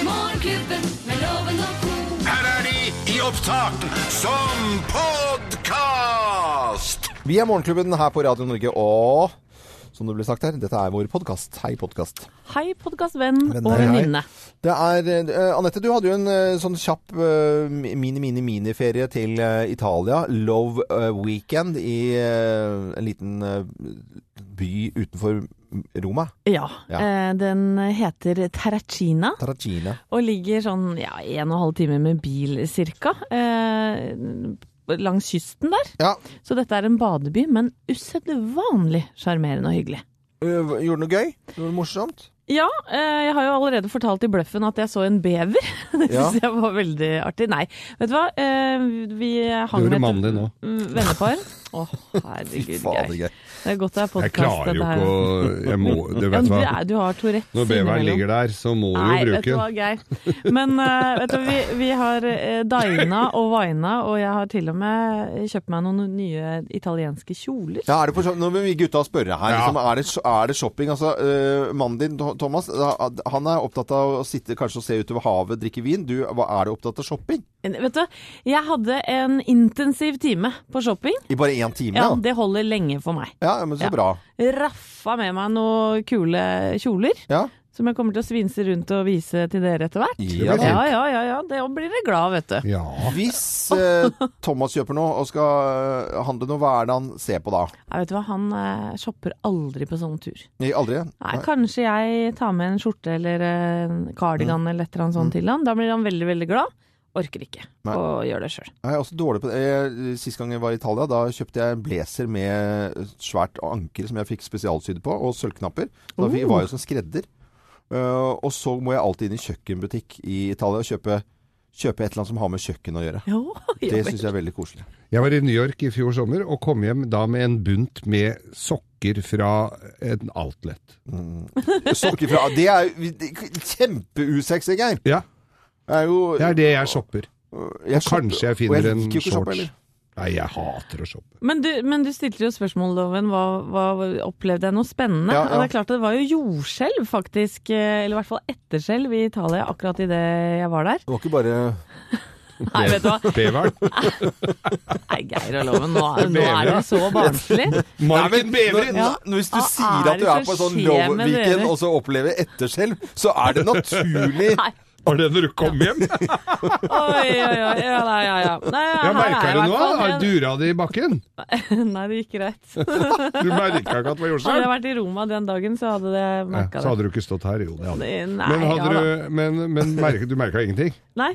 Morgenklubben med loven og ko. Her er de i opptak som podkast! Vi er Morgenklubben her på Radio Norge, og som det ble sagt her, dette er vår podkast. Hei, podkast. Hei, podkastvenn Venn, og hei, hei. venninne. Det er eh, Anette, du hadde jo en eh, sånn kjapp eh, mini-mini-mini-ferie til eh, Italia. Love eh, Weekend i eh, en liten eh, by utenfor Roma. Ja, Ja. eh, den heter Terracina Taracina. og ligger sånn ja, en og en halv time med bil cirka. Eh, langs kysten der. Ja. Så dette er en badeby, men usedvanlig sjarmerende og hyggelig. Øh, Gjorde du noe gøy? Gjorde du noe morsomt? Ja, eh, jeg har jo allerede fortalt i bløffen at jeg så en bever. Det Ja. syns jeg var veldig artig. Nei, vet du hva. Eh, vi hang gjorde et mannen din nå. mm, vennepar. Å, herregud, Fader, Geir. gøy. Det er godt det er Jeg podkast, klarer jo dette ikke her. å jeg må, Du Ja, vet du, hva. er, du har Tourettes Når beveren innimellom. ligger der, så må du jo Nei, vet du bruke hva, den. Geir. Men eh, vet du, vi, vi har uh, dina og vaina, og jeg har til og med kjøpt meg noen nye italienske kjoler. Ja, er det for, så- nå vil vi gutta spørre her. Ja. Liksom, er, det, er det shopping? Altså, øh, mannen din, Tho- Thomas, da- han er opptatt av å sitte kanskje og se utover havet, drikke vin. Du, hva er du opptatt av shopping? Vet du, jeg hadde en intensiv time på shopping. I bare én time? Ja, da? det holder lenge for meg. Ja, ja, men så Ja. bra. Raffa med meg noen kule kjoler. Ja. Som jeg kommer til å svinse rundt og vise til dere etter hvert. Ja, da. ja, ja, ja, ja. Det blir dere glad, vet du. Ja. Hvis eh, Thomas kjøper noe og skal eh, handle noe, hva er det han ser på da? Jeg vet du hva, han eh, shopper aldri på sånn tur. Nei, Aldri? Nei, kanskje jeg tar med en skjorte eller en kardigan eller et eller annet sånt til han. Da blir han veldig, veldig glad. Orker ikke Mm. Nei. å gjøre det sjøl. Jeg er også dårlig på det. Jeg- Sist gang jeg var i Italia, da kjøpte jeg en blazer med svært anker som jeg fikk spesialsydd på, og sølvknapper. Da fikk, Oh. var jeg som skredder. Eh, og så må jeg alltid inn i kjøkkenbutikk i Italia og kjøpe, kjøpe et eller annet som har med kjøkken å gjøre. Jo, jo Det vel. syns jeg er veldig koselig. Jeg var i New York i fjor sommer og kom hjem da med en bunt med sokker fra en outlet. Sokker fra Det er jo kjempeusexy, Geir. Ja, Det er jo det er det jeg shopper. jeg shopper- Kanskje jeg og finner jeg en liker jo ikke å shoppe shorts. heller. Nei, jeg hater å shoppe. Men, du, men du stilte jo spørsmål, Loven. Hva, hva opplevde jeg noe spennende? Ja, Og ja. det er klart det var jo jordskjelv, faktisk. eh, Eller i hvert fall etterskjelv i Italia akkurat idet jeg var der. Det var ikke bare Nei, vet du hva. Beveren. Nei, Geir og Loven, nå, er- nå er Bever, ja. du så barnslig. Marken Når, Beveren! Ja. når, hvis du Hva sier er at du det er som på sånn skjer low med weekend dere? og så opplever etterskjelv, så er det naturlig. Nei. Var det når du kom hjem? Jeg Oi, oi, oi. Ja, nei, ja, ja. Nei, her er merka jeg i det hvert nå. fall. Har dura det i bakken? Nei, det gikk greit. Du merka ikke at det var Hadde jeg jordskjelv? vært i Roma den dagen, så hadde det Nei, merka Så det. hadde du ikke stått her. Jo, det hadde du. Nei, Men, ja hadde da. du, men, men merket, du merka ingenting? Nei,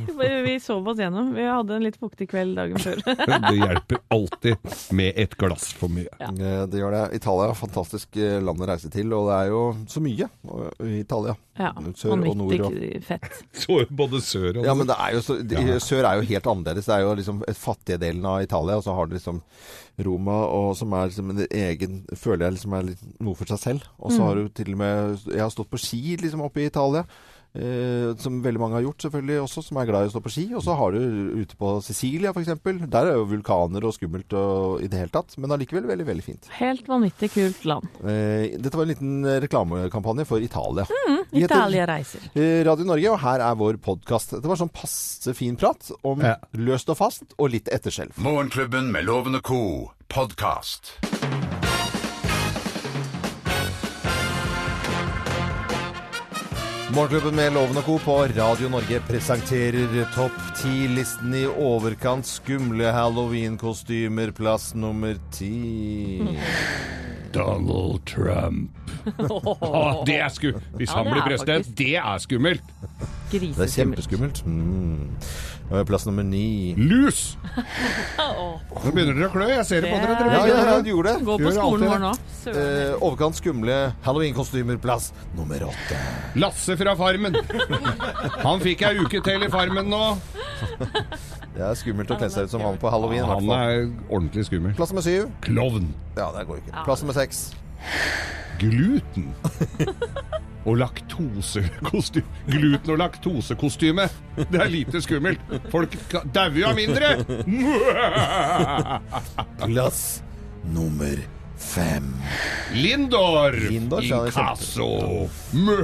vi sov oss gjennom. Vi hadde en litt fuktig kveld dagen før. Det hjelper alltid med et glass for mye. Eh, Det gjør det. Italia er et fantastisk eh, land å reise til, og det er jo så mye eh, i Italia. Ja, Sør og nord og vanvittig fett. Så både sør og ja, men det er jo så, de, Sør er jo helt annerledes. Det er jo liksom et fattige delen av Italia, og så har du liksom Roma, og som er liksom en egen Føler jeg liksom er litt noe for seg selv. Og så har du til og med Jeg har stått på ski liksom oppe i Italia. Eh, som veldig mange har gjort, selvfølgelig også, som er glad i å stå på ski. Og så har du ute på Sicilia, f.eks. Der er jo vulkaner og skummelt og, i det hele tatt. Men allikevel veldig, veldig fint. Helt vanvittig kult land. Eh, dette var en liten eh, reklamekampanje for Italia. Vi heter- Mm, Italia reiser. Eh, Radio Norge, og her er vår podkast. Det var sånn passe fin prat om Ja. løst og fast, og litt etterskjelv. Morgenklubben med Loven og co. podkast. Morgenklubben med Loven og Co. på Radio Norge presenterer topp ti-listen i overkant skumle halloweenkostymer, plass nummer ti. Mm. Donald Trump. Å, det er sku... Hvis han det blir er president, faktisk- det er skummelt! Det er kjempeskummelt. Mm. Eh, Plass nummer ni. Lus! Nå begynner dere å klø. Jeg ser det på dere. dere begynner Ja, ja, å ja, klø. du gjorde det. Gå på Gjør skolen alltid vår det. nå. Eh, overkant skumle halloweenkostymer, plass nummer åtte. Lasse fra Farmen. Han fikk ei uke til i Farmen nå. Det er skummelt å kle seg ut som han på halloween. i hvert Han fall. er ordentlig skummel. Plass nummer syv. Klovn. Ja, det går ikke. Plass nummer seks. Gluten. Og laktosekostyme. Gluten- og laktosekostyme. Det er lite skummelt. Folk ka- dauer jo av mindre! Plass nummer fem. Lindor! Lindor, sa jeg Inkasso! Mø.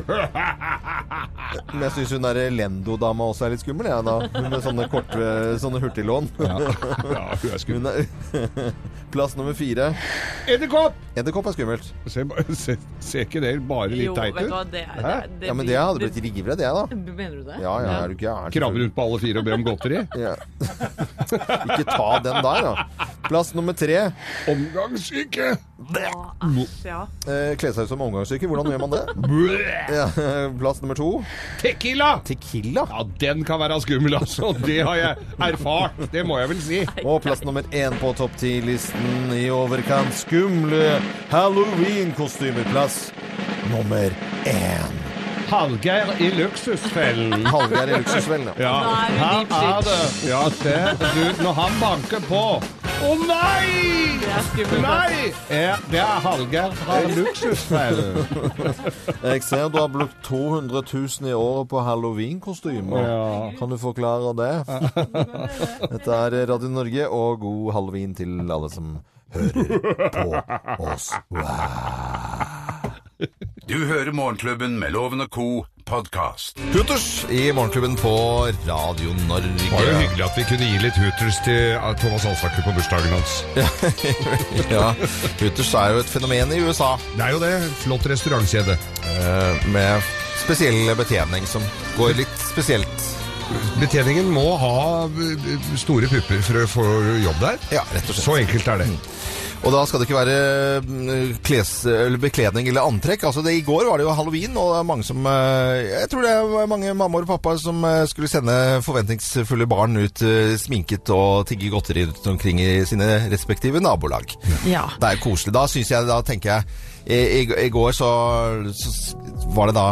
Men jeg syns hun der Lendo-dama også er litt skummel, jeg da. Hun Med sånne korte sånne hurtiglån. Ja, ja hun er skummel. Hun er Plass nummer fire. Edderkopp! Edderkopp er skummelt. Se, se, ser ikke det bare litt Jo, teit vet du hva, ut? det er Hæ? det- Ja, men det hadde blitt rivredd, jeg, da. Mener du det? Ja, ja, er du gæren? Krabbe rundt på alle fire og be om godteri? Ja. Ikke ta den der, da. Plass nummer tre. Omgangssyke! Æsj, ja. Eh, Kle seg ut som omgangssyke. Hvordan gjør man det? Bleh! Ja, plass nummer to. Tequila! Tequila. Ja, den kan være skummel, altså. Det har jeg erfart. Det må jeg vel si. Og plass nummer én på topp ti-listen i overkant skumle Halloween-kostymer. Plass nummer én. Hallgeir i luksusfellen. Hallgeir i luksusvellen, ja. Ja, Da er vi her deep shit. er det. Ja, se. Du, når han banker på Å nei! Det er skummelt. ass. Nei! Ja, det er Hallgeir fra luksusfellen. Jeg ser du har brukt 200 000 i året på halloween-kostymer. Ja. Kan du forklare det? Dette er Radio Norge, og god halloween til alle som hører på oss. Du hører Morgenklubben med Loven og Co. podkast. Hooters i Morgenklubben på Radio Det var jo Norge. hyggelig at vi kunne gi litt hooters til eh, Thomas Alsaker på bursdagen hans. Ja, Hooters er jo et fenomen i USA, Det er jo det. Flott restaurantkjede. eh, med spesiell betjening som går litt spesielt. Betjeningen må ha eh, store pupper for å få jobb der. Ja, rett og slett. Så enkelt er det. Og da skal det ikke være mm, kles, eller bekledning eller antrekk. Altså det, I går var det jo halloween, og det er mange som eh, Jeg tror det var mange mammaer og pappaer som eh, skulle sende forventningsfulle barn ut eh, sminket og tigge godteri rundt omkring i sine respektive nabolag. Ja. Det er jo koselig. Da synes jeg, da tenker jeg i, i, I går så, så s- var det da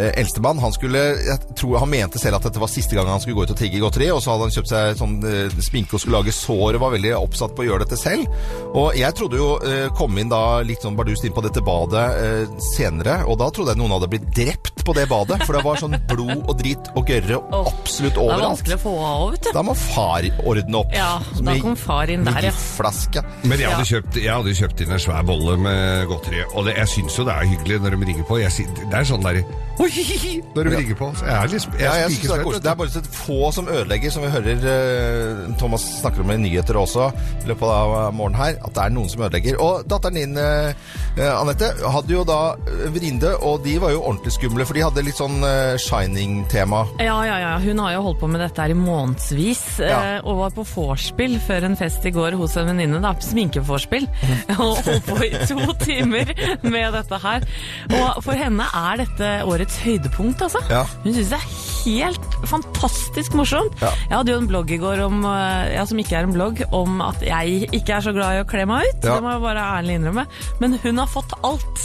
eh, eldstemann. Han skulle Jeg tror han mente selv at dette var siste gang han skulle gå ut og tigge godteri. Og så hadde han kjøpt seg sånn eh, sminke og skulle lage sår, og var veldig oppsatt på å gjøre dette selv. Og jeg trodde jo eh, Kom inn da litt sånn bardust inn på dette badet eh, senere, og da trodde jeg noen hadde blitt drept på det badet. For det var sånn blod og dritt og gørre absolutt Det er overalt. vanskelig å få av, vet du. Da må far ordne opp. Ja, da kom far inn der, ja. Flaske. Men jeg hadde, kjøpt, jeg hadde kjøpt inn en svær bolle med godteri, og det, jeg syns jo det er hyggelig når de ringer på. Jeg, sier- det er sånn der Oi, hi, hi, Når de ringer på. Så jeg er litt jeg Ja, er jeg synes det, er koselig. spikesvett. det er bare så få som ødelegger, som vi hører eh, Thomas snakker om i nyheter også i løpet av eh, morgenen her, at det er noen som ødelegger. Og datteren din, eh, eh, Anette, hadde jo da eh, Vrinde, og de var jo ordentlig skumle, for de hadde litt sånn eh, Shining-tema. Ja, ja, ja. Hun har jo holdt på med dette her i månedsvis. Ja. eh, Og var på vorspiel før en fest i går hos en venninne. da, Sminkevorspiel. Mhm. Og holdt på i to timer med dette her. Og for henne er dette årets høydepunkt, altså. Ja. Hun syns det er helt fantastisk morsomt. Ja. Jeg hadde jo en blogg i går om, eh, ja, som ikke er en blogg, om at jeg ikke er så glad i å kle meg ut. Ja. Det må jeg bare ærlig innrømme. Men hun har fått alt.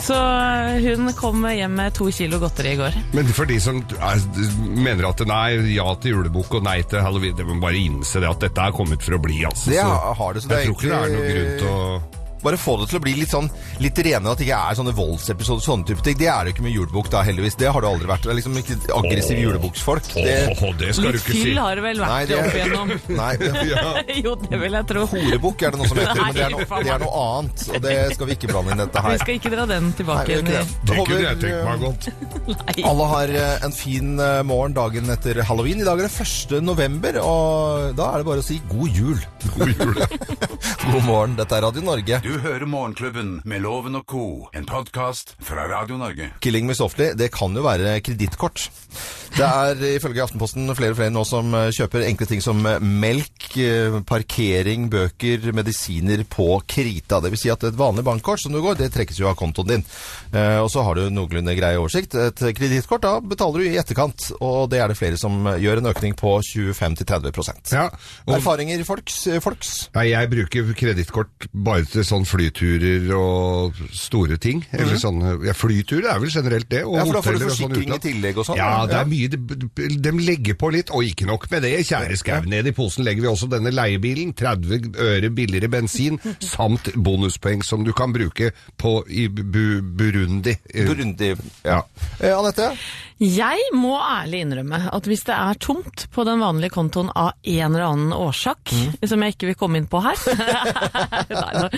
Så eh, hun kom hjem med to kilo godteri i går. Men for de som er, mener at nei, ja til julebukk og nei til halloween, det må bare innse det at dette er kommet for å bli, altså. Det så har det, så det jeg er tror ikke det er noen grunn egentlig til å Bare få det til å bli litt sånn litt renere, at det ikke er sånne voldsepisoder, sånne type ting. Det er det ikke med julebukk, da, heldigvis. Det har det aldri vært. Det er liksom ikke aggressive julebukksfolk. Åh, Det åh, det skal du Litt ikke si. fyll har det vel vært Nei, det er- opp igjennom. Nei. Ja. jo, det vil jeg tro. Horebukk er det noe som heter, men det er, Nei, noe- faen. det er noe annet. Og det skal vi ikke blande inn i dette Vi her. skal ikke dra den Nei, tilbake vi gjør igjen. ikke Det Da kunne jeg håper, tenkt meg eh, godt. Alle har eh, en fin eh, morgen dagen etter halloween. I dag er det 1. november, og da er det bare å si god jul. God jul. God morgen, dette er Radio Norge. Du hører Morgenklubben med Loven og Co. En podkast fra Radio Norge. Killing me softly, det kan jo være kredittkort. Det er ifølge Aftenposten flere og flere nå som eh, kjøper enkle ting som eh, melk, eh, parkering, bøker, medisiner på krita. Det vil si at et vanlig bankkort som du går, det trekkes jo av kontoen din. Eh, Og så har du noenlunde grei oversikt. Et kredittkort, da betaler du i etterkant. Og det er det flere som eh, gjør en økning på 25-30 Ja, og Erfaringer, folks? eh, folks? Nei, jeg bruker kredittkort bare til sånn flyturer og store ting. Eller sånne, ja, flyturer er vel generelt det. Og Mhm. Ja, for da får du hoteller og sånn forsikring i utenlands. tillegg og sånn. Ja, det er mye. De, de legger på litt, og ikke nok med det, kjære skau. Ned i posen legger vi også denne leiebilen. 30 øre billigere bensin, samt bonuspoeng som du kan bruke på i Bu Burundi. Eh, Burundi. Ja. Eh, Anette? Jeg må ærlig innrømme at hvis det er tomt på den vanlige kontoen av en eller annen årsak, Mm. som jeg ikke vil komme inn på her, Nei, da.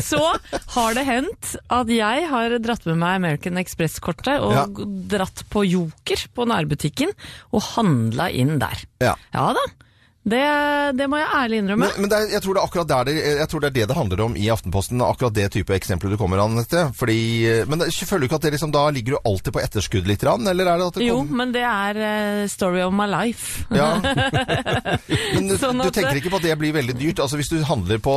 så har det hendt at jeg har dratt med meg American Express-kortet og Ja. dratt på Joker på nærbutikken og handla inn der. Ja. Ja da, det, det må jeg ærlig innrømme. Men, men det er, jeg tror det er akkurat der det, jeg tror det er det det handler om i Aftenposten. Akkurat det type eksempler du kommer an etter. Fordi, men det, føler du ikke at det liksom, da ligger du alltid på etterskudd litt? grann, Eller er det at det Jo, kom- men det er eh, story of my life. Ja. Men du, Sånn du at- tenker ikke på at det blir veldig dyrt? Altså Hvis du handler på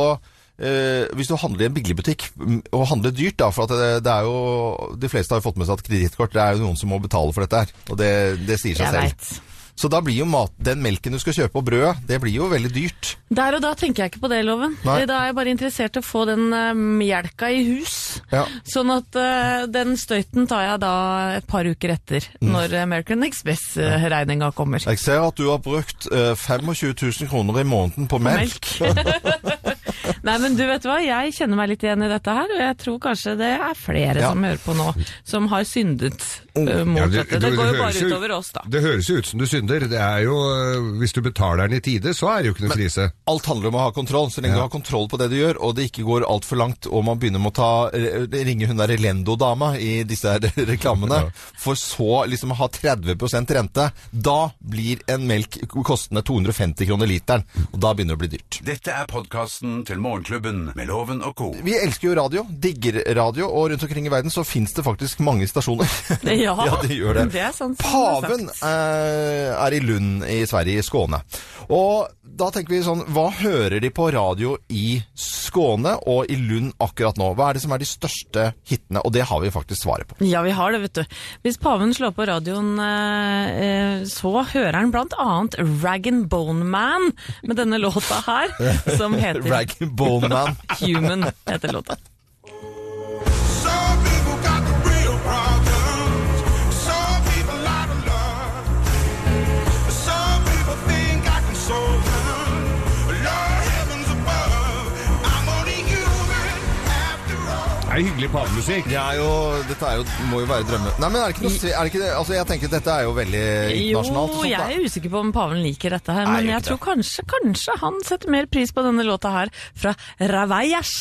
eh, hvis du handler i en billigbutikk mm, og handler dyrt, da, for at det, det er jo De fleste har jo fått med seg at kredittkort Det er jo noen som må betale for dette her. Og det, det sier seg Jeg selv. veit. Så da blir jo mat, den melken du skal kjøpe og brødet, det blir jo veldig dyrt. Der og da tenker jeg ikke på det, Loven. Nei. Da er jeg bare interessert i å få den eh, melka i hus. Ja. Sånn at eh, den støyten tar jeg da et par uker etter, Mm. når American Express-regninga kommer. Jeg ser at du har brukt eh, 25 000 kroner i måneden på melk. Nei, men du vet hva, jeg kjenner meg litt igjen i dette her, og jeg tror kanskje det er flere Ja. som hører på nå, som har syndet eh, mot Ja, dette. Det du- går jo høres bare utover oss, da. Det høres jo ut som du synder. Det er jo, øh, hvis du betaler den i tide, så er det jo ikke noe krise. Alt handler om å ha kontroll. Så lenge du har kontroll på det du gjør, og det ikke går altfor langt, og man begynner med å ta, eh, ringe hun der Elendo-dama i disse her reklamene, Ja. for så liksom å ha 30 rente, da blir en melk kostende 250 kroner literen. Og da begynner det å bli dyrt. Dette er podkasten til Morgenklubben med Loven og co. Vi elsker jo radio, digger radio, og rundt omkring i verden så fins det faktisk mange stasjoner. Ja, det gjør det. det er sant sånn som det er Paven sagt. eh, er i Lund i Sverige, i Skåne. Og da tenker vi sånn, hva hører de på radio i Skåne og i Lund akkurat nå? Hva er det som er de største hitene? Og det har vi faktisk svaret på. Ja, vi har det, vet du. Hvis paven slår på radioen, eh, eh, så hører han blant annet Rag and Bone Man med denne låta her, som heter Rag Bone Man. Human, heter låta. Some people got the real problems. Some people out of love. Some people think I can solve them. Lord, heavens above, I'm only human after all. Det er hyggelig pavemusikk. Det er jo, dette er jo, må jo være drømme... Nei, men er det ikke noe sve- er det ikke det? Altså, jeg tenker dette er jo veldig Jo, internasjonalt. og sånt, jeg da. er usikker på om paven liker dette her, Nei, men gjør jeg ikke tror det. kanskje, kanskje han setter mer pris på denne låta her fra Ravaias.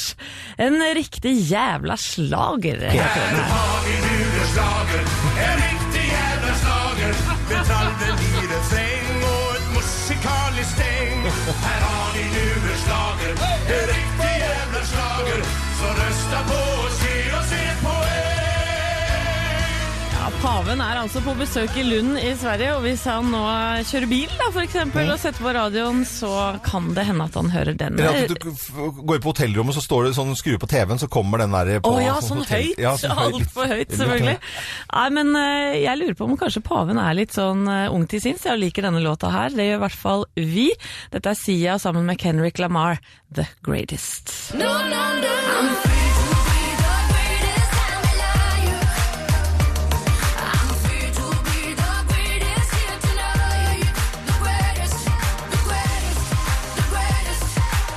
En riktig jævla slager. Har vi nudelslager, en riktig jævla slager. Detaljer i refreng og et musikalisk steng. Her har de nudelslager, en riktig jævla slager. Så røsta på oss, gi oss et poeng. Ja, Paven er altså på besøk i Lund i Sverige, og hvis han nå kjører bil da, for eksempel, og setter på radioen, så kan det hende at han hører den. Eller at du f- går på hotellrommet, så står det sånn, skrur på TV-en, så kommer den der Å på... ja, sånn sånn hotell- høyt! Ja, Alt sånn høyt. Altfor høyt, selvfølgelig. Nei, men eh, jeg lurer på om kanskje paven er litt sånn eh, ung til sinns. Jeg liker denne låta her. Det gjør i hvert fall vi. Dette er Sia sammen med Kenrick Lamar, The Greatest. No, no, no. I'm free to be the greatest. I'm alive. I'm free to be the greatest here tonight. The greatest, the greatest, the greatest.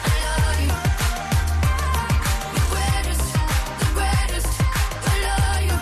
I love you. The greatest, the greatest. I love you.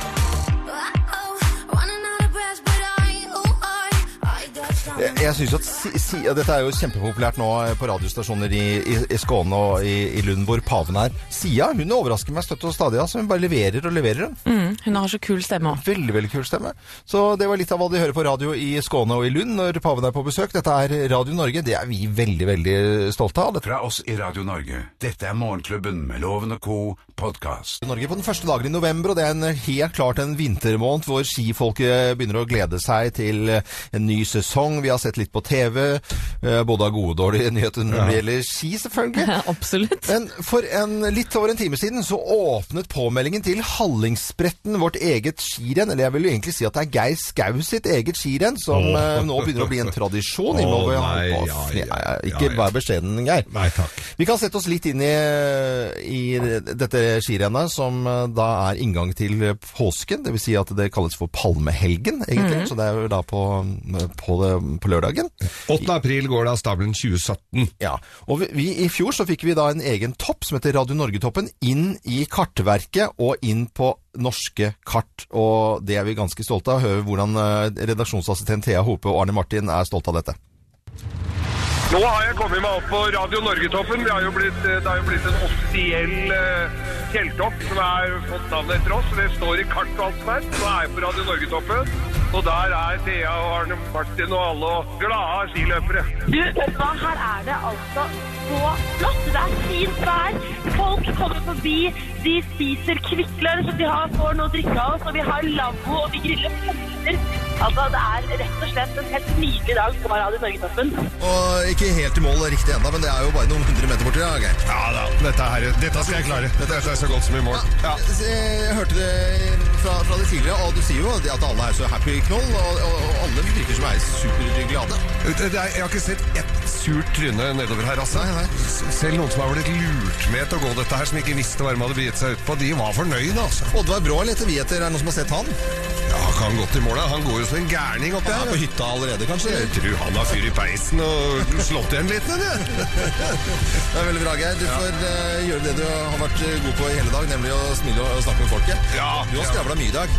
Oh, running out of breath, but I, oh, I, I got Jeg, something. Eh, jeg synes at si, si, ja, Dette er jo kjempepopulært nå eh, på radiostasjoner i, i, i Skåne og i, i Lund, hvor paven er. Sia hun overrasker meg støtt og stadig. Altså. Hun bare leverer og leverer. hun. Mm, hun har så kul stemme òg. Veldig veldig kul stemme. Så det var litt av hva de hører på radio i Skåne og i Lund når paven er på besøk. Dette er Radio Norge. Det er vi veldig, veldig stolte av. Dette Fra oss i Radio Norge. Dette er Morgenklubben med Loven og co. podkast. er Norge på den første dagen i november, og det er en, eh, helt klart en vintermåned hvor skifolket eh, begynner å glede seg til eh, en ny sesong. Vi har sett litt på TV, eh, både av gode og dårlige nyheter når det gjelder ski, selvfølgelig. Absolutt. Men for en, litt over en time siden så åpnet påmeldingen til Hallingsbretten, vårt eget skirenn. Eller jeg vil jo egentlig si at det er Geir Skau sitt eget skirenn, som Åh. eh, nå begynner å bli en tradisjon. Åh, innover- nei, Å, ja, fne- ja, nei, ja, Ikke ja. vær beskjeden, Geir. Nei takk. Vi kan sette oss litt inn i, i dette skirennet, som eh, da er inngang til påsken. Dvs. Si at det kalles for palmehelgen, egentlig. Så det er jo da på, på, det, på lørdagen. 8. april går det av stabelen 2017. Ja, og vi, vi, I fjor så fikk vi da en egen topp som heter Radio Norge-toppen inn i kartverket og inn på norske kart. Og det er vi ganske stolte av. Hør hvordan eh, redaksjonsassistent Thea Hope og Arne Martin er stolte av dette. Nå har jeg kommet meg opp på Radio Norgetoppen. Det har jo blitt, eh, det har jo blitt en offisiell eh, fjelltopp som er fått navnet etter oss. Det står i kart og alt som er. Nå er jeg på Radio Norgetoppen, og der er Thea og Arne Martin og alle og glade skiløpere. Du, vet du hva? Her er det altså så flott. Det er fint vær. Folk kommer forbi. De spiser Kvikklønn, så de har, får noe å drikke av oss. Og vi har lavvo, og vi griller pølser. Altså, det er rett og slett en helt nydelig dag på Radio Norgetoppen. Og ikke helt i mål riktig ennå, men det er jo bare noen hundre meter borti. Ja, Ja da, dette, her, dette skal jeg klare. Dette er så godt som i morgen. Ja. Jeg hørte det fra, fra det tidligere, og du sier jo at alle er så happy knoll, og, og, og alle virker som er superglade. Det er, jeg har ikke sett ett surt tryne nedover her, altså. Nei, nei. S- Selv noen som har blitt lurt med til å gå dette her, som ikke visste hva de hadde begitt seg ut på, de var fornøyde, altså. Oddvar Brå leter vi etter. Er det noen som har sett han? Ja, kan godt i målet. Han går jo som en gærning oppi Han er her. på hytta allerede, kanskje? Jeg tror han har fyr i peisen og slått igjen litt, men det. Det er veldig bra, Geir. Du får eh, gjøre det du har vært eh, god på i hele dag, nemlig å smile og, og snakke med folket. Ja, Du har ja. skravla mye i dag.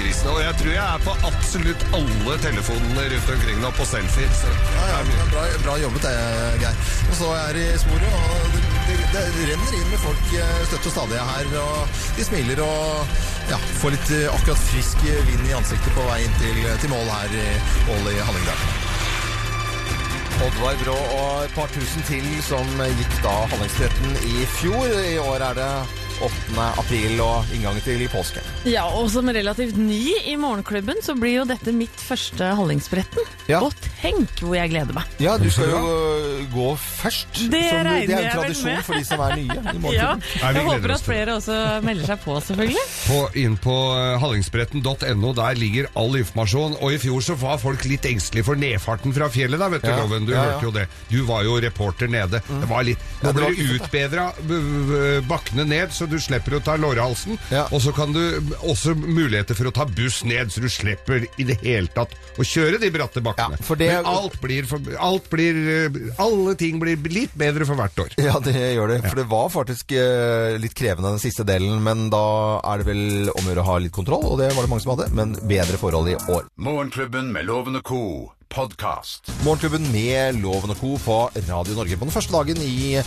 Grisen, og jeg tror jeg er på absolutt alle telefonene rundt omkring nå på selfie. Så. Ja, ja, men det er bra, bra jobbet det, Geir. Og så er jeg i sporet, og det, det, det renner inn med folk eh, støtt og stadig her. Og de smiler og ja, får litt eh, akkurat frisk eh, vind i ansiktet på vei inn til, til mål her i Ål i Hallingdal. Oddvar Brå og et par tusen til som gikk da Hallingsretten i fjor. I år er det 8. april og inngangen til påske. Ja, og som relativt ny i morgenklubben, så blir jo dette mitt første Hallingsbretten. Ja. Og tenk hvor jeg gleder meg. Ja, du skal jo øh, gå først. som- regner Det er jeg en vel tradisjon med. for de som er nye. i morgen. Ja, Nei, vi jeg gleder håper oss at til det. flere også melder seg på, selvfølgelig. på, inn på eh, hallingsbretten.no. Der ligger all informasjon. Og i fjor så var folk litt engstelige for nedfarten fra fjellet, da, vet du, Ja, Loven. Du ja, ja. Mm. hørte jo det. Du var jo reporter nede. Det var litt Nå det var blir det ikke utbedra bakkene ned, så du slipper å ta lårhalsen. Ja. Og så kan du også muligheter for å ta buss ned, så du slipper i det hele tatt å kjøre de bratte bakkene. Ja, for det- Men alt blir, for, alt blir eh, Alle ting blir litt bedre for hvert år. Ja, det gjør det. For det var faktisk øh, litt krevende den siste delen, men da er det vel om å gjøre å ha litt kontroll, og det var det mange som hadde, men bedre forhold i år. Morgenklubben med Loven og Co. Podcast. Morgenklubben med Loven og Co. på Radio Norge på den første dagen i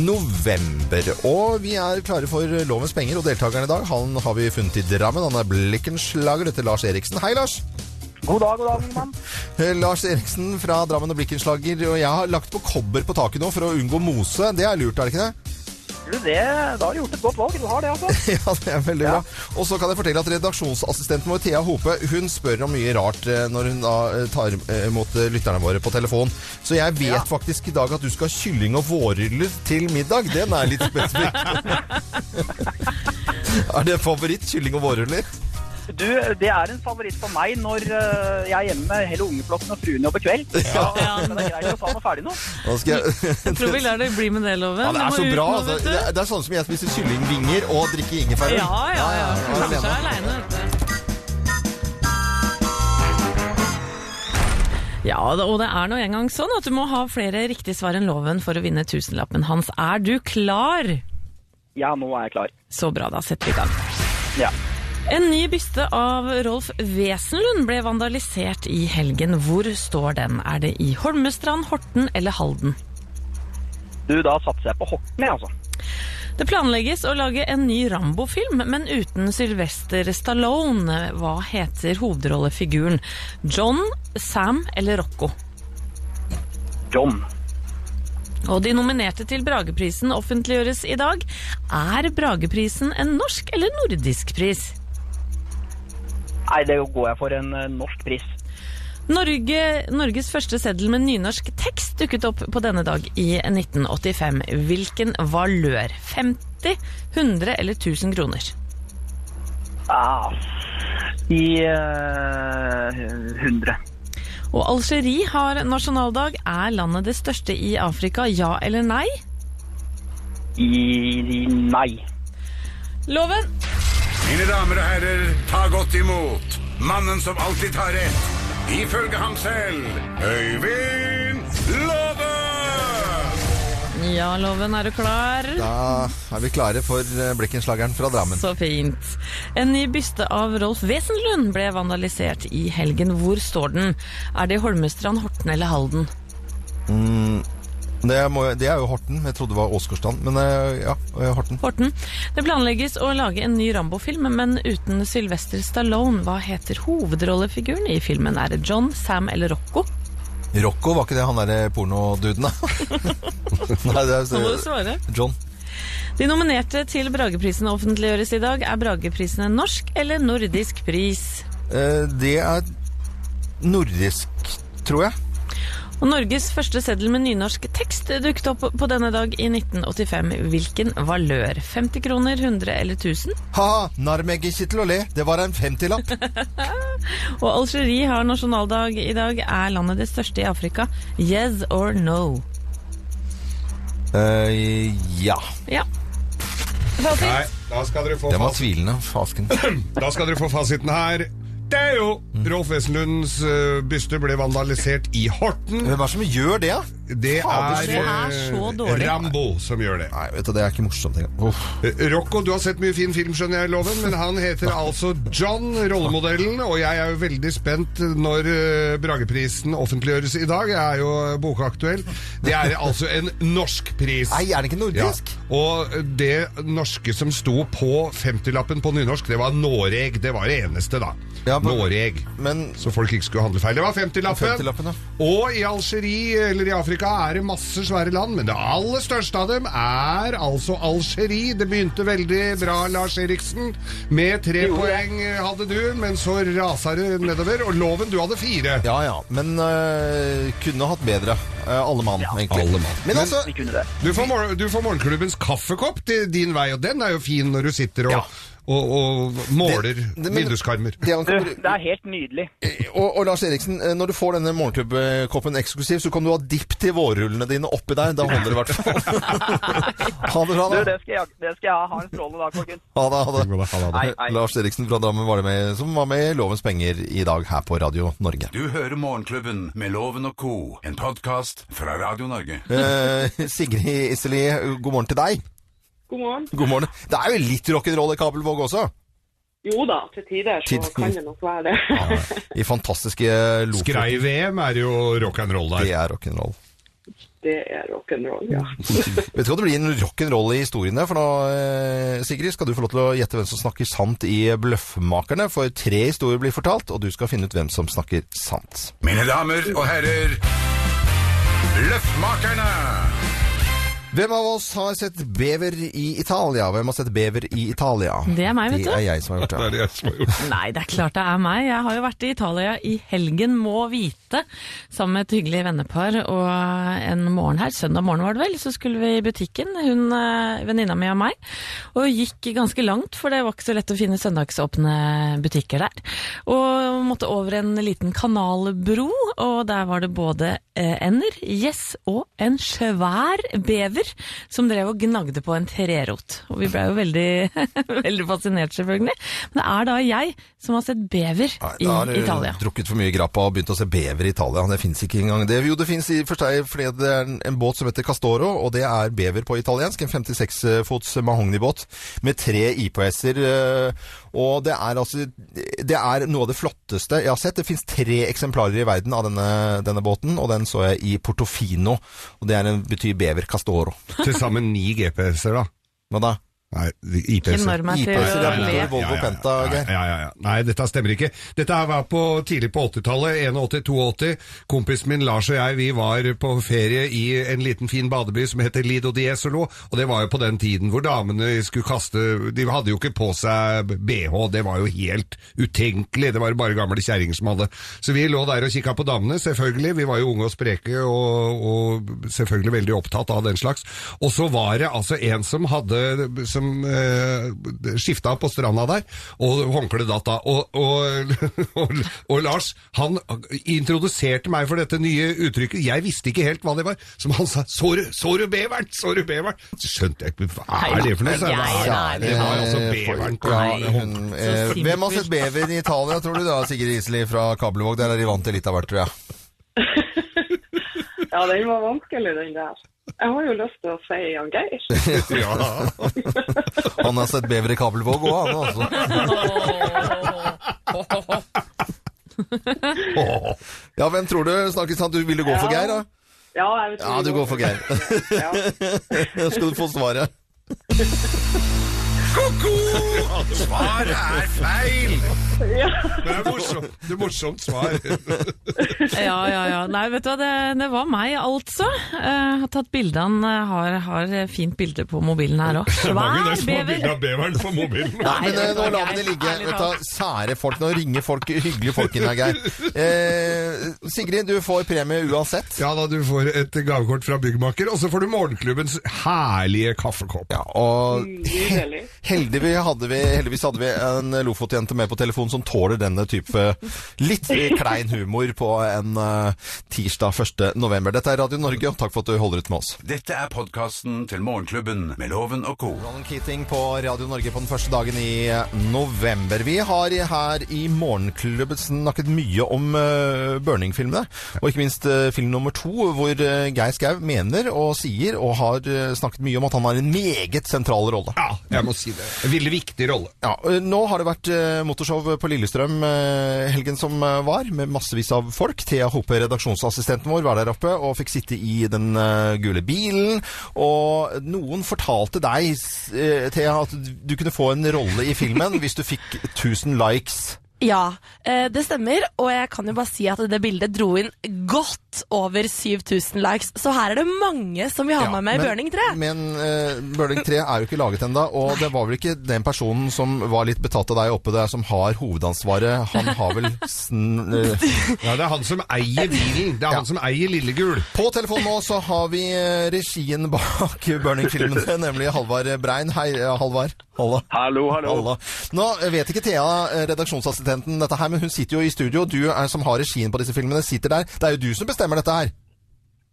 november. Og vi er klare for Lovens penger, og deltakeren i dag han har vi funnet i Drammen. Han er blikkenslager etter Lars Eriksen. Hei, Lars! God dag, god dag, min mann. Eh, Lars Eriksen fra Drammen og Blikkenslager, og jeg har lagt på kobber på taket nå for å unngå mose. Det er lurt, er det ikke det? Du, det, da har du gjort et godt valg. Du har det, altså. Ja, det er veldig bra. Og så kan jeg fortelle at redaksjonsassistenten vår, Thea Hope, hun spør om mye rart eh, når hun da eh, tar eh, imot eh, lytterne våre på telefon. Så jeg vet faktisk i dag at du skal ha kylling og vårruller til middag. Den er litt spesifikk. er det favoritt, kylling og vårruller? Du, det er en favoritt for meg når eh, jeg er hjemme med hele ungeflokken og fruen jobber kveld. Ja. Det er greit å ta noe ferdig nå. Nå skal jeg... Jeg tror vi lar det bli med det, Loven. Ja, det Du er må så ut bra. nå, Altså. vet du. Det er- det er sånn som jeg spiser kyllingvinger og drikker ingefærøl. Ja, ja, ja. jeg er Kanskje alene. alene, vet du. Ja, det- og det er nå engang sånn at du må ha flere riktige svar enn loven for å vinne tusenlappen hans. Er du klar? Ja, nå er jeg klar. Så bra, da setter vi i gang. Ja. En ny byste av Rolf Wesenlund ble vandalisert i helgen. Hvor står den? Er det i Holmestrand, Horten eller Halden? Du, da satser jeg på Horten, jeg, altså. Det planlegges å lage en ny Rambo-film, men uten Sylvester Stallone. Hva heter hovedrollefiguren? John, Sam eller Rocco? John. Og de nominerte til Brageprisen offentliggjøres i dag. Er Brageprisen en norsk eller nordisk pris? Nei, det går jeg for en eh, norsk pris. Norge, Norges første seddel med nynorsk tekst dukket opp på denne dag i 1985. Hvilken valør? 50, 100 eller 1000 kroner? Ah, I eh, 100. Og Algerie har nasjonaldag. Er landet det største i Afrika, ja eller nei? I, i nei. Loven! Mine damer og herrer, ta godt imot mannen som alltid tar rett, Ifølge ham selv Øyvind Love! Ja, Loven, er du klar? Da er vi klare for eh, Blikkenslageren fra Drammen. Så fint. En ny byste av Rolf Wesenlund ble vandalisert i helgen. Hvor står den? Er det i Holmestrand, Horten eller Halden? Det, må, det er jo Horten. Jeg trodde det var Åsgårdstrand, men eh, ja, eh, Horten. Horten. Det planlegges å lage en ny Rambo-film, men uten Sylvester Stallone. Hva heter hovedrollefiguren i filmen? Er det John, Sam eller Rocco? Rocco, var ikke det han derre pornoduden, da? Nei, det Nå må du er svare. John. De nominerte til Brageprisen offentliggjøres i dag. Er Brageprisen en norsk eller nordisk pris? Eh, Det er nordisk, tror jeg. Og Norges første seddel med nynorsk tekst dukket opp på denne dag i 1985. Hvilken valør? 50 kroner, 100 eller 1000? Ha-ha, narr meg ikke til å le. Det var en femtilapp. Og Algerie har nasjonaldag i dag. Er landet det største i Afrika? Yes or no? Eh, ja. Ja. Fasit. Nei, da skal dere få Den var fasit- tvilende, fasken. Da skal dere få fasiten her. Det er jo Rolf Wesenlunds eh, byste ble vandalisert i Horten. Hvem er det som gjør det, da? Det Fader, er, det er så eh, dårlig. Rambo som gjør det. Nei, vet du, det er ikke morsomt engang. Uff. Eh, Rocco, du har sett mye fin film, skjønner jeg, Loven, men han heter altså John, rollemodellen, og jeg er jo veldig spent når eh, Brageprisen offentliggjøres i dag. Jeg er jo eh, bokaktuell. Det er altså en norsk pris. Nei, er det ikke nordisk? Ja. Og det norske som sto på 50-lappen på nynorsk, det var Noreg. Det var det eneste, da. Ja, men- Noreg. Men Så folk ikke skulle handle feil. Det var 50-lappen. 50-lappen, ja. Og i Algerie, eller i Afrika, er det masse svære land, men det aller største av dem er altså Algerie. Det begynte veldig bra, Lars Eriksen. Med tre poeng hadde du, men så rasa det nedover. Og Loven, du hadde fire. Ja ja, men øh, kunne hatt bedre. Eh, alle mann, egentlig. alle mann. Men altså Du får, mor du får morgenklubbens kaffekopp til din vei, og den er jo fin når du sitter og, og, og måler Det- det- men- vinduskarmer. det han kan, Det er helt nydelig. og, og Lars Eriksen, eh, når du får denne morgenklubbekoppen eksklusiv, så kan du ha dipp til vårrullene dine oppi der. Da holder det i hvert fall. ha det bra, Du, da. det skal jeg, det skal jeg ha. Ha en strålende dag, folkens. Ha det, ha det. Hei, hei. Lars Eriksen fra Drammen var det med, som var med i Lovens penger i dag her på Radio Norge. Du hører Morgenklubben med Loven og Co., en podkast fra Radio Norge. Eh, Sigrid Iselin, god morgen til deg. God morgen. God morgen. Det er jo litt rock'n'roll i Kabelvåg også. Jo da, til tider så Til tider. kan det nok være det. I fantastiske Lofoten. Skrei-VM er jo rock'n'roll Det der. er rock'n'roll. Det er rock'n'roll, ja. Vet du hva det blir en rock'n'roll i historien der? For nå, eh, Sigrid, skal du få lov til å gjette hvem som snakker sant i Bløffmakerne. For tre historier blir fortalt, og du skal finne ut hvem som snakker sant. Mine damer og herrer, Løftmakerne! Hvem av oss har sett bever i Italia? Hvem har sett bever i Italia? Det er meg, vet du. Det er jeg som har gjort Det er det. det som har gjort Nei, det er klart det er meg. Jeg har jo vært i Italia i helgen, må vite, sammen med et hyggelig vennepar. Og en morgen her, søndag morgen var det vel, så skulle vi i butikken, hun, eh, venninna mi og meg. Og gikk ganske langt, for det var ikke så lett å finne søndagsåpne butikker der. Og måtte over en liten kanalbro, og der var det både eh, ender, gjess og en svær bever som drev og gnagde på en trerot. Og vi ble jo veldig, veldig fascinert, selvfølgelig. Men det er da jeg som har sett bever Nei, i da har du Italia. drukket for mye grappa og begynt å se bever i Italia. Det fins ikke engang. Det, jo, det fins i og for seg fordi det er en, en båt som heter Castoro, og det er bever på italiensk. En 56-fots mahognibåt med tre IPS-er. eh, Og det er altså Det er noe av det flotteste jeg har sett. Det fins tre eksemplarer i verden av denne, denne båten, og den så jeg i Portofino. Og det er en, betyr bever Castoro. Til sammen ni GPS-er, da. Hva da? Nei, Ikke IPS-er. når meg til IPS-er å er le. motor, Volvo Penta. ja, Geir. ja, ja, ja. Nei, dette stemmer ikke. Dette her var på, tidlig på 80-tallet, 81-82. Kompisen min Lars og jeg, vi var på ferie i en liten fin badeby som heter Lido di Esolo, og det var jo på den tiden hvor damene skulle kaste De hadde jo ikke på seg BH, det var jo helt utenkelig. Det var jo bare gamle kjerringer som hadde. Så vi lå der og kikka på damene, selvfølgelig. Vi var jo unge og spreke og, og selvfølgelig veldig opptatt av den slags. Og så var det altså en som hadde som eh, skifta på stranda der, og håndkleet datt av. Og, og, og, og Lars, han introduserte meg for dette nye uttrykket. Jeg visste ikke helt hva det var. Som han sa 'Så du, så du beveren? Så du beveren?' Så skjønte jeg ikke hva er det for noe. sa jeg. Nei, Hva nei, er det? Det var altså Eh, beveren folk- på ja, håndkleet. hun, Så eh, simpelt. Hvem har sett bever i Italia, tror du? da, Sigrid Isli fra Kabelvåg. Der er de vant til litt av hvert, tror jeg. Ja, den var vanskelig, den der. Jeg har jo lyst til å si Jan Geir. Ja. Han har sett bever i Kabelvåg òg, han altså. Ja, hvem tror du snakkes sant? Du, vil du gå for Geir, da? Ja, jeg vet Ja, du går for Geir. Ja. Skal du få svaret. Svaret er feil! Ja. Det er morsomt, det er morsomt svar. Ja, ja, ja. Nei, vet du hva, det, det var meg, altså. Jeg har tatt bilde av den. eh, Har, har fint bilde på mobilen her òg. Mange Svær som har bilde bever! av beveren på mobilen. Nei, Men eh, nå det var lar vi det Geir. ligge. Ærlig Vet du, talt. hva, sære folk. Nå ringer folk hyggelige folk inn her, Geir. Eh, Sigrid, du får premie uansett. Ja da, du får et gavekort fra byggmaker, og så får du morgenklubbens herlige kaffekopp. Ja, og Nydelig. heldigvis hadde, vi, heldigvis hadde vi en Lofot-jente med på telefon som tåler denne type litt klein humor på en eh, tirsdag 1. november. Dette er Radio Norge, og takk for at du holder ut med oss. Dette er podkasten til Morgenklubben med Loven og co. Ronan Keating på Radio Norge på den første dagen i eh, november. Vi har i- her i Morgenklubben snakket mye om eh, Burning-filmene, og ikke minst eh, film nummer to, hvor eh, Geir Skau mener og sier og har eh, snakket mye om at han har en meget sentral rolle. Ja, jeg må si det. En veldig viktig rolle. Ja, eh, Nå har det vært eh, motorshow på Lillestrøm eh, helgen som eh, var, med massevis av folk. Thea Hope, redaksjonsassistenten vår, var der oppe og fikk sitte i den eh, gule bilen. Og noen fortalte deg, s- eh, Thea, at du kunne få en rolle i filmen hvis du fikk 1000 likes. Ja, eh, det stemmer. Og jeg kan jo bare si at det bildet dro inn godt over 7000 likes. Så her er det mange som vil ha meg med i Burning 3. Men eh, Burning 3 er jo ikke laget ennå, og det var vel ikke den personen som var litt betatt av deg oppe der, som har hovedansvaret. Han har vel sn... eh, Ja, det er han som eier bilen. Det er han som eier Lillegul. På telefon nå så har vi eh, regien bak Burning-filmene, nemlig Halvard Brein. Hei, eh, Halvard. Halla. Hallo, Halla. Nå eh, vet ikke Thea, eh, redaksjonsassistenten, dette her, men hun sitter jo i studio. og Du er, som har regien på disse filmene, sitter der. Det er jo du som bestemmer dette her.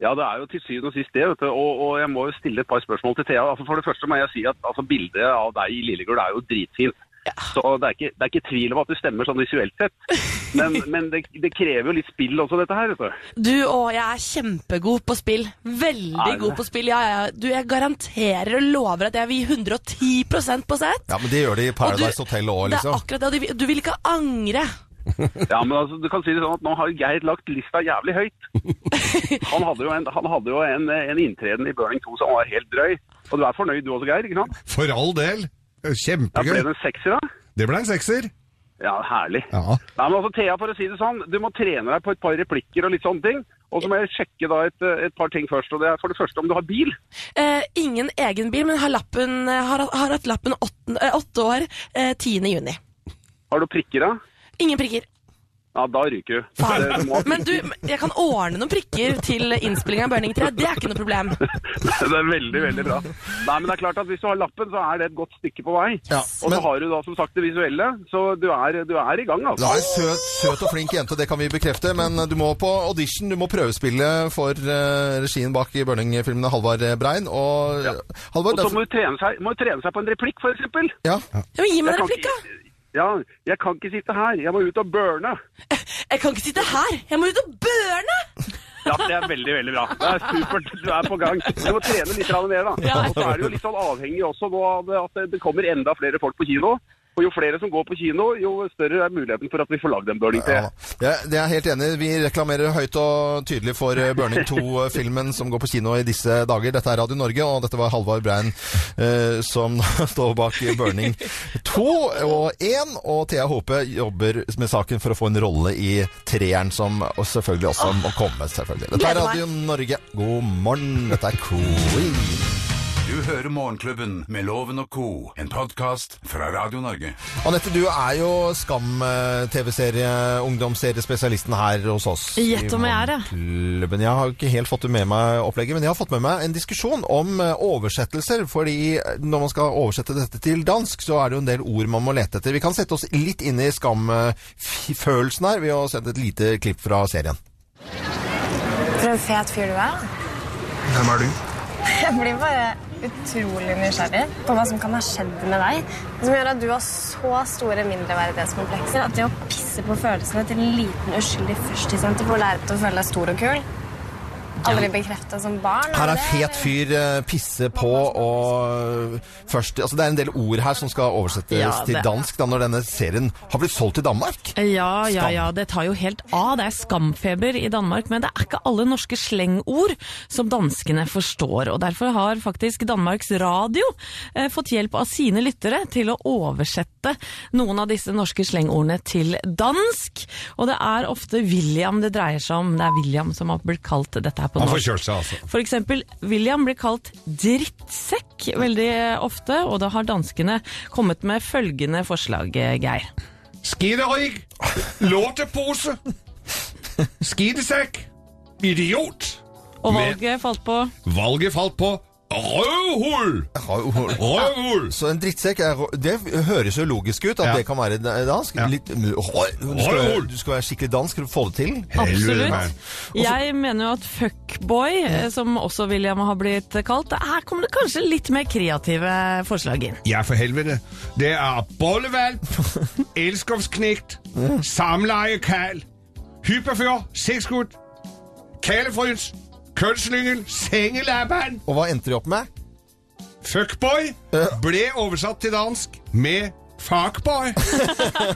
Ja, det er jo til syvende og sist det, vet du. Og, og jeg må jo stille et par spørsmål til Thea. Altså, for det første må jeg si at altså, bildet av deg i Lillegul er jo dritfint. Så det er, ikke, det er ikke tvil om at det stemmer sånn visuelt sett. Men, men det, det krever jo litt spill også, dette her, vet du. Du, å, jeg er kjempegod på spill. Veldig Er du god på spill. Ja, ja, ja. Du, jeg garanterer og lover at jeg vil gi 110 på sett. Ja, men det gjør de i Og du- Paradise Hotel Det òg, er liksom. akkurat det. og Du, vil- du vil ikke angre. Ja, men altså, du kan si det sånn at nå har Geir lagt lista jævlig høyt. Han hadde jo en, han hadde jo en, en inntreden i Burning 2 som var helt drøy. Og du er fornøyd du også, Geir? ikke sant? For all del. Ja, ble Kjempegøy. det en sekser, da? Det ble en sekser. Ja, herlig. Ja. Nei, men altså, Thea, for å si det sånn, du må trene deg på et par replikker og litt sånne ting. Og så må jeg sjekke da et, eh, et par ting først. og det er For det første om du har bil. Eh, ingen egen bil, men har, lappen, eh, har, har hatt lappen åtte, eh, åtte år eh, 10. juni. Har du prikker da? Ingen prikker. Ja, da ryker du. Faen. Det- du må ha Men du, jeg kan ordne noen prikker til innspillinga av Burning 3. Det er ikke noe problem. det er veldig, veldig bra. Nei, men det er klart at Hvis du har lappen, så er det et godt stykke på vei. Ja, og men- så har du da som sagt det visuelle, så du er, du er i gang. Du altså. er en søt, søt og flink jente, det kan vi bekrefte, men du må på audition, du må prøvespille for eh, regien bak i Burning-filmene, Halvard Brein. Og, Halvard, Og så derfor- må du trene seg, må du trene seg på en replikk, for eksempel. ja. Jo, gi meg en Jeg kan replikk, da. ikke- Ja, jeg kan ikke sitte her. Jeg må ut og burne. Jeg kan ikke sitte her. Jeg må ut og børne! Ja, det er veldig, veldig bra. Det er supert. Du er på gang. Du må trene litt grann mer, da. Og så er det jo litt sånn avhengig også nå av at det- det kommer enda flere folk på kino. Og jo flere som går på kino, jo større er muligheten for at vi får lagd en burning til. Ja, det, det er jeg helt enig. i. Vi reklamerer høyt og tydelig for eh, Burning 2-filmen som går på kino i disse dager. Dette er Radio Norge, og dette var Halvard Brein eh, som står bak Burning 2 og 1. Og Thea Hope jobber med saken for å få en rolle i treeren, som og selvfølgelig også må komme. selvfølgelig. Dette Gleder er meg. Radio Norge. God morgen. Dette er Queen. Du Du hører Morgenklubben med Loven og Co., en podkast fra Radio Norge. Anette, du er jo Skam-TV-serie, ungdomsseriespesialisten her hos oss. Gjett om jeg er, ja. Morgenklubben. Jeg har ikke helt fått med meg opplegget, men jeg har fått med meg en diskusjon om eh, oversettelser. Fordi når man skal oversette dette til dansk, så er det jo en del ord man må lete etter. Vi kan sette oss litt inn i Skam-følelsen her ved å sende et lite klipp fra serien. For en fet fyr du er. Hvem er du? Jeg blir bare utrolig nysgjerrig på hva som kan ha skjedd med deg, som gjør at du har så store mindreverdighetskomplekser at det å pisse på følelsene til en liten uskyldig førstisjente for å lære deg å føle deg stor og kul Aldri bekrefta som barn. Her og er fet fyr, eh, pisse på og først Altså det er en del ord her som skal oversettes Ja, til det- dansk da når denne serien har blitt solgt til Danmark. Ja, ja, Skam. ja, det tar jo helt av. Det er skamfeber i Danmark, men det er ikke alle norske slengord som danskene forstår. Og derfor har faktisk Danmarks Radio eh, fått hjelp av sine lyttere til å oversette noen av disse norske slengordene til dansk. Og det er ofte William det dreier seg om. Det er William som har blitt kalt dette her på Han norsk. får kjørt seg, altså. For eksempel, William blir kalt drittsekk veldig ofte, og da har danskene kommet med følgende forslag, eh, Geir. Skiderig, lortepose, skidesekk, idiot. Og valget falt på Men valget falt på røvhull. Røvhull. Så en drittsekk er, Det høres jo logisk ut at det kan være dansk. Litt, du, skal, du skal være skikkelig dansk for å få det til. Absolutt. Jeg mener jo at fuckboy, eh, som også William har blitt kalt, her kommer det kanskje litt mer kreative forslag inn. Ja, for helvete. Det er bollevalg, elskovsknekt, samleiekall, hyperfør, sexgutt, kalefryns, kønnslyngel, sengelabban. Og hva endte de opp med? Fuckboy ble oversatt til dansk med fuckboy.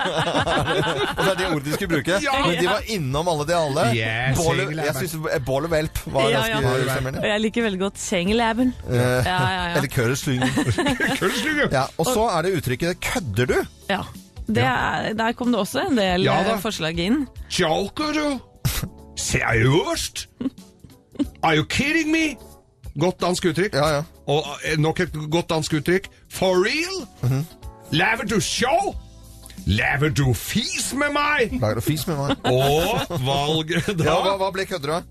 Og det er det ordet de skulle bruke. Ja. Men de var innom alle de alle. Yes, Bål, egentlig er jeg det. syns Bål og Velp var Ja, ja. ganske Og jeg liker veldig godt sengelabben. Ja, ja, ja. Eller Køreslyng. ja, og så er det uttrykket 'kødder du'? ja. Det er, der kom det også en del Ja, eh, da. forslag inn. Joker du? Seriøst? Are you kidding me? Godt dansk uttrykk. Og eh, nok et godt dansk uttrykk. For real? Laver du show? Laver du fis med meg? Lager du fis med meg? Og valget da? Ja, hva, hva ble kødder du?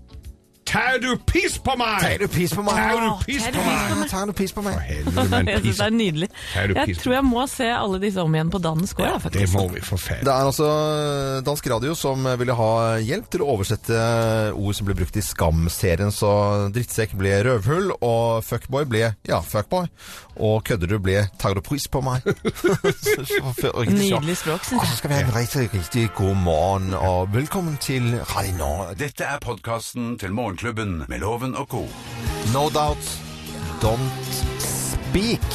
Tar du piss på meg? Tar du piss på meg? Tar du piss Tar på meg? Tar du piss på meg? Helvete, men Jeg synes piss. det er nydelig. Er du Jeg pisen? tror jeg må se alle disse om igjen på dansk òg, Det faktisk. må vi for faen. Det er altså Dansk Radio som ville ha hjelp til å oversette ord som ble brukt i Skam-serien. Så drittsekk ble røvhull, og fuckboy ble ja, fuckboy. Og kødder du ble tar du pris på meg. Så- så- for- og- Nydelig språk, synes Og så skal vi ha en riktig, riktig god morgen, og velkommen til Radio Norge. Dette er podkasten til Morgenklubben med Loven og Co. No Doubt, Don't Speak.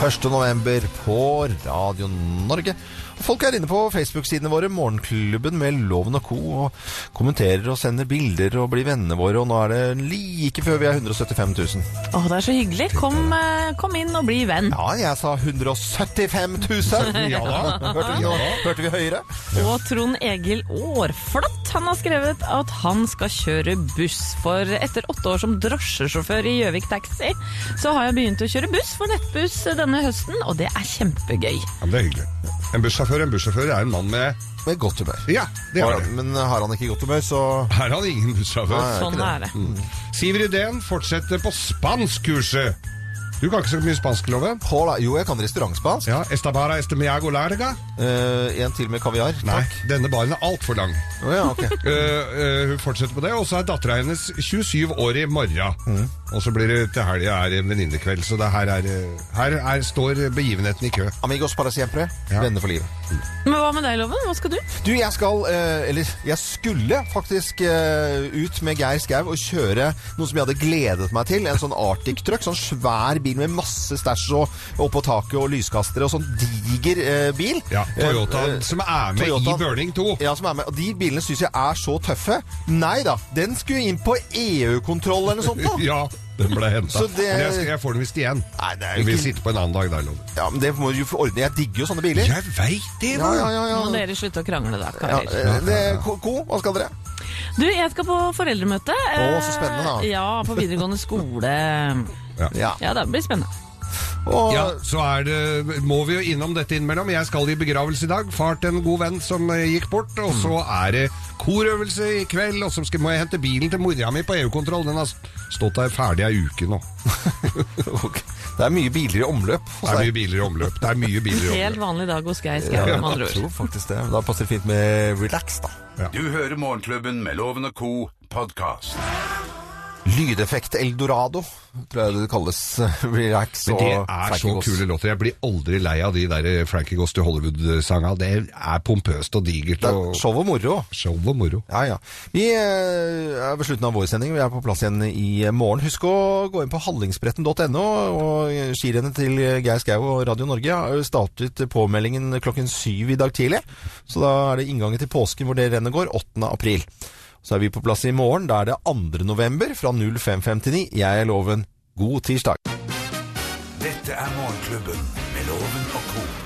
1. november på Radio Norge. Folk er inne på Facebook-sidene våre, Morgenklubben med Loven og Co. og kommenterer og sender bilder og blir vennene våre, og nå er det like før vi er 175 000. Å, det er så hyggelig. Kom, eh, kom inn og bli venn. Ja, jeg sa 175 000! Ja da. Hørte vi, noe? Hørte vi høyere? Og Trond Egil Aarflot han har skrevet at han skal kjøre buss. For etter åtte år som drosjesjåfør i Gjøvik Taxi, så har jeg begynt å kjøre buss for nettbuss denne høsten, og det er kjempegøy. Ja, men det er hyggelig. En bussjåfør en bussjåfør er en mann med Med godt humør. Ja, det er Har- det. Men har han ikke godt humør, så Her har han ingen bussjåfør. Nei. Sånn er det. Mm. Siver Idén fortsetter på spanskkurset. Du kan ikke så mye spansk, Loven. Hola. Jo, jeg kan restaurantspansk. Ja, Estabara estemiago larga. Eh, en til med kaviar. Nei, Takk. denne baren er altfor lang. Å ja, ok. Eh, eh, hun fortsetter på det, og så er dattera hennes 27 år i morgen. Mm. Og så blir det til helga er en venninnekveld, så det her, er, eh, her er, står begivenheten i kø. Amigos para siempre. Ja. Venner for livet. Men hva med deg, Loven? Hva skal du? Du, jeg skal, eh, eller jeg skulle faktisk eh, ut med Geir Skau og kjøre noe som jeg hadde gledet meg til. En sånn Arctic Truck. Sånn svær bil med masse stæsj og oppå taket og lyskastere og sånn diger eh, bil. Ja, Toyota, Eh, eh, som er med Toyota. i Burning 2. Ja, som er med. Og de bilene syns jeg er så tøffe. Nei da, den skulle inn på EU-kontroll eller noe sånt. da. Ja, den ble henta. Så det- Men jeg, skal- jeg får den visst igjen. Nei, det er Vi jo vil ikke sitte på en annen dag der, Loven. Ja, men det må du jo få ordne. Jeg digger jo sånne biler. Jeg veit det, Ja, ja, ja. ja. Må dere slutte å krangle da, ja karer. eh, det, ko, ko, hva skal dere? Du, jeg skal på foreldremøte. Å, så spennende, da. Eh, Ja, på videregående skole. Ja. Ja, det blir spennende. Ja, så er det, må vi jo innom dette innimellom. Jeg skal i begravelse i dag. Far til en god venn som eh, gikk bort. Og så er det korøvelse i kveld, og så skal, må jeg hente bilen til mora mi på EU-kontroll. Den har s- stått der ferdig ei uke nå. Det er mye biler i omløp. Det er mye biler i omløp. Det er mye biler i omløp. Helt vanlig dag hos Geir Skau, med andre ord. faktisk det. Da passer det fint med relax, da. Du hører Morgenklubben med Loven og Co. podcast. Lydeffekt Eldorado, tror jeg det kalles. Relax Men og det er så Frankie Goss. kule låter. Jeg blir aldri lei av de der Frankie Goss til Hollywood-sanga. Det er pompøst og digert. Og... Show og moro. Show og moro. Ja, ja. Vi eh, er ved slutten av vår sending. Vi er på plass igjen i morgen. Husk å gå inn på hallingsbretten.no. Og skirennet til Geir Skau og Radio Norge har jo startet påmeldingen klokken syv i dag tidlig. Så da er det inngangen til påsken hvor det rennet går, 8. april. Så er vi på plass i morgen. Da er det 2. november fra 05.59. Jeg er Loven. God tirsdag. Dette er Morgenklubben med Loven og Co.